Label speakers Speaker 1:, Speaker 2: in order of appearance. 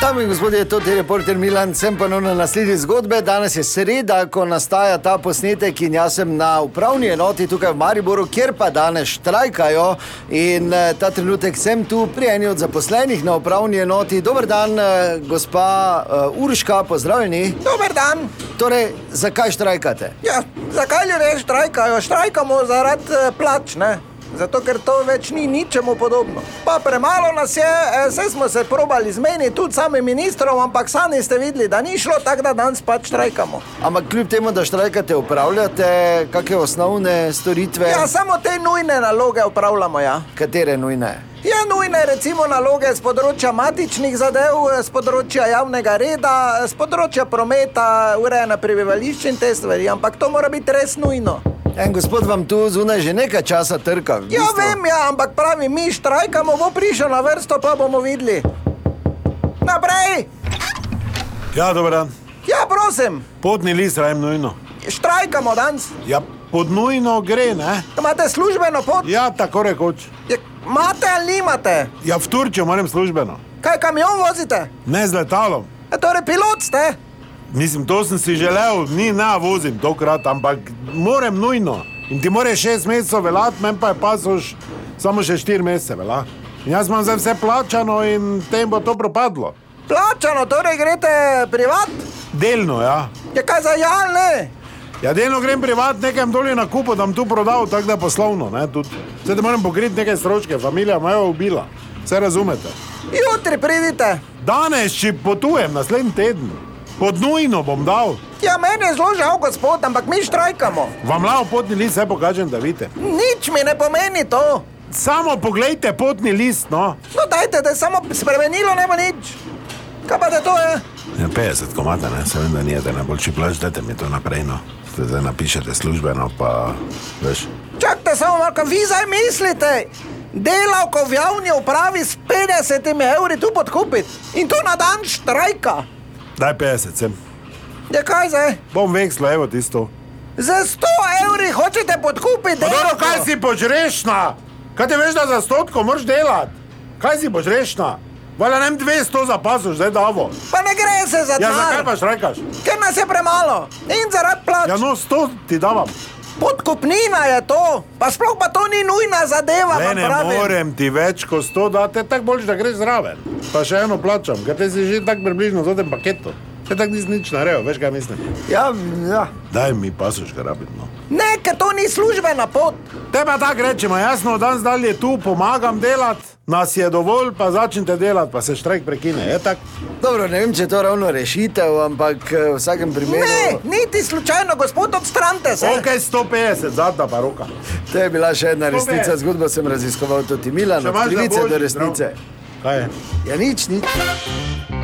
Speaker 1: Dame in gospodje, to je reporter Milan, sem ponovno na sledi zgodbe. Danes je sreda, ko nastaja ta posnetek in jaz sem na upravni enoti tukaj v Mariboru, kjer pa danes štrajkajo. In eh, ta trenutek sem tu pri eni od zaposlenih na upravni enoti. Dober dan, eh, gospa eh, Urška, pozdravljeni.
Speaker 2: Dober dan.
Speaker 1: Torej, zakaj štrajkate?
Speaker 2: Ja, zakaj ljudje štrajkajo? Štrajkamo zaradi eh, plač, ne? Zato, ker to več ni ničemu podobno. Pa premalo nas je, eh, saj smo se probali zmeniti tudi samim ministrom, ampak sami ste videli, da ni šlo tako, da danes pač štrajkamo.
Speaker 1: Ampak kljub temu, da štrajkate, upravljate kakšne osnovne storitve,
Speaker 2: Ja, samo te nujne naloge upravljamo, ja.
Speaker 1: katere nujne.
Speaker 2: Ja, nujne recimo naloge z področja matičnih zadev, eh, z področja javnega reda, eh, z področja prometa, urejena prebivališča in te stvari, ampak to mora biti res nujno.
Speaker 1: En gospod vam tu zunaj že nekaj časa trka. v
Speaker 2: Ja,
Speaker 1: bistvu.
Speaker 2: vem, ja, ampak pravi, mi štrajkamo, bo prišel na vrsto, pa bomo videli. Naprej,
Speaker 3: Ja, dobro dan.
Speaker 2: ja, prosim,
Speaker 3: Potni list rajem nujno.
Speaker 2: štrajkamo danes.
Speaker 3: Ja, pod nujno gre, ne?
Speaker 2: Imate službeno pot?
Speaker 3: Ja, tako rekoč.
Speaker 2: Je- Imate ali nimate?
Speaker 3: Ja, v Turčijo moram službeno.
Speaker 2: Kaj kamion vozite?
Speaker 3: Ne z letalom.
Speaker 2: E, torej, pilot ste?
Speaker 3: Mislim, to sem si želel, ni na vozim tokrat, ampak moram nujno. In ti moraš šest mesecev veljati, meni pa je pasoš samo še štiri mesece velja. In jaz imam zdaj vse plačano in tem bo to propadlo.
Speaker 2: Plačano, torej greste privat?
Speaker 3: Delno, ja.
Speaker 2: Je kaj za jalne?
Speaker 3: Ja, delno grem privat, nekam dolje na kupo, da bom tu prodal, tako da poslovno, ne, tudi. Zdaj da moram pokriti neke stroške, familija me je ubila. Vse razumete?
Speaker 2: Jutri pridite.
Speaker 3: Danes, če potujem, naslednji teden, pod nujno bom dal,
Speaker 2: Ja, meni je zelo žal, gospod, ampak mi štrajkamo.
Speaker 3: vam lao potni list, vse pokažem, da vidite.
Speaker 2: Nič mi ne pomeni to.
Speaker 3: Samo pogledajte potni list, no.
Speaker 2: No, dajte, da je samo spremenilo, ne bo nič. Kaj pa da to je?
Speaker 3: Ja, 50 komata, ne, se vem, da ni eden najboljši plač, dajte mi to naprej, no. Zdaj napišete službeno, pa veš.
Speaker 2: Čakajte samo malo, kaj vi zdaj mislite? Delavko v javni upravi s 50 evri tu podkupiti in to na dan štrajka.
Speaker 3: Daj 50, sem.
Speaker 2: Ja, kaj zdaj?
Speaker 3: Bom veksla, evo tisto.
Speaker 2: Za 100 evri hočete podkupiti
Speaker 3: Pa dobro,
Speaker 2: delavko?
Speaker 3: kaj si počrešna? Kaj te veš, da za stotko moraš delati? Kaj si počrešna? Vala nam 200 zapasov, zdaj davo.
Speaker 2: Pa ne gre se za to,
Speaker 3: Ja, zakaj pa štrajkaš?
Speaker 2: ker nas je premalo in zaradi plač.
Speaker 3: Ja, no, 100 ti davam.
Speaker 2: Podkupnina je to, pa sploh pa to ni nujna zadeva.
Speaker 3: Ne,
Speaker 2: vam
Speaker 3: ne
Speaker 2: pravim.
Speaker 3: morem ti več kot 100 dati, tako boljš, da greš zraven. Pa še eno plačam, ker te si že tako približno v tem paketu. Te tako nisi nič naredil, veš kaj mislim.
Speaker 1: Ja, ja.
Speaker 3: Daj mi pasuš, kar rabimo.
Speaker 2: ne, ker to ni službena pot.
Speaker 3: Te pa tako rečemo, jasno, danes dalje tu pomagam delati, nas je dovolj, pa začnite delati, pa se štrajk prekine. Je tako?
Speaker 1: Dobro, ne vem, če je to ravno rešitev, ampak eh, v vsakem primeru
Speaker 2: Ne, niti slučajno, gospod, odstranite se.
Speaker 3: no. Ok, 150, zadnja pa roka.
Speaker 1: to je bila še ena resnica.
Speaker 3: Dobre.
Speaker 1: Zgodbo sem raziskoval tudi Milan,
Speaker 3: Če
Speaker 1: od
Speaker 3: imaš za
Speaker 1: krivice do
Speaker 3: boljši
Speaker 1: resnice.
Speaker 3: Kaj je?
Speaker 1: Ja, nič, nič.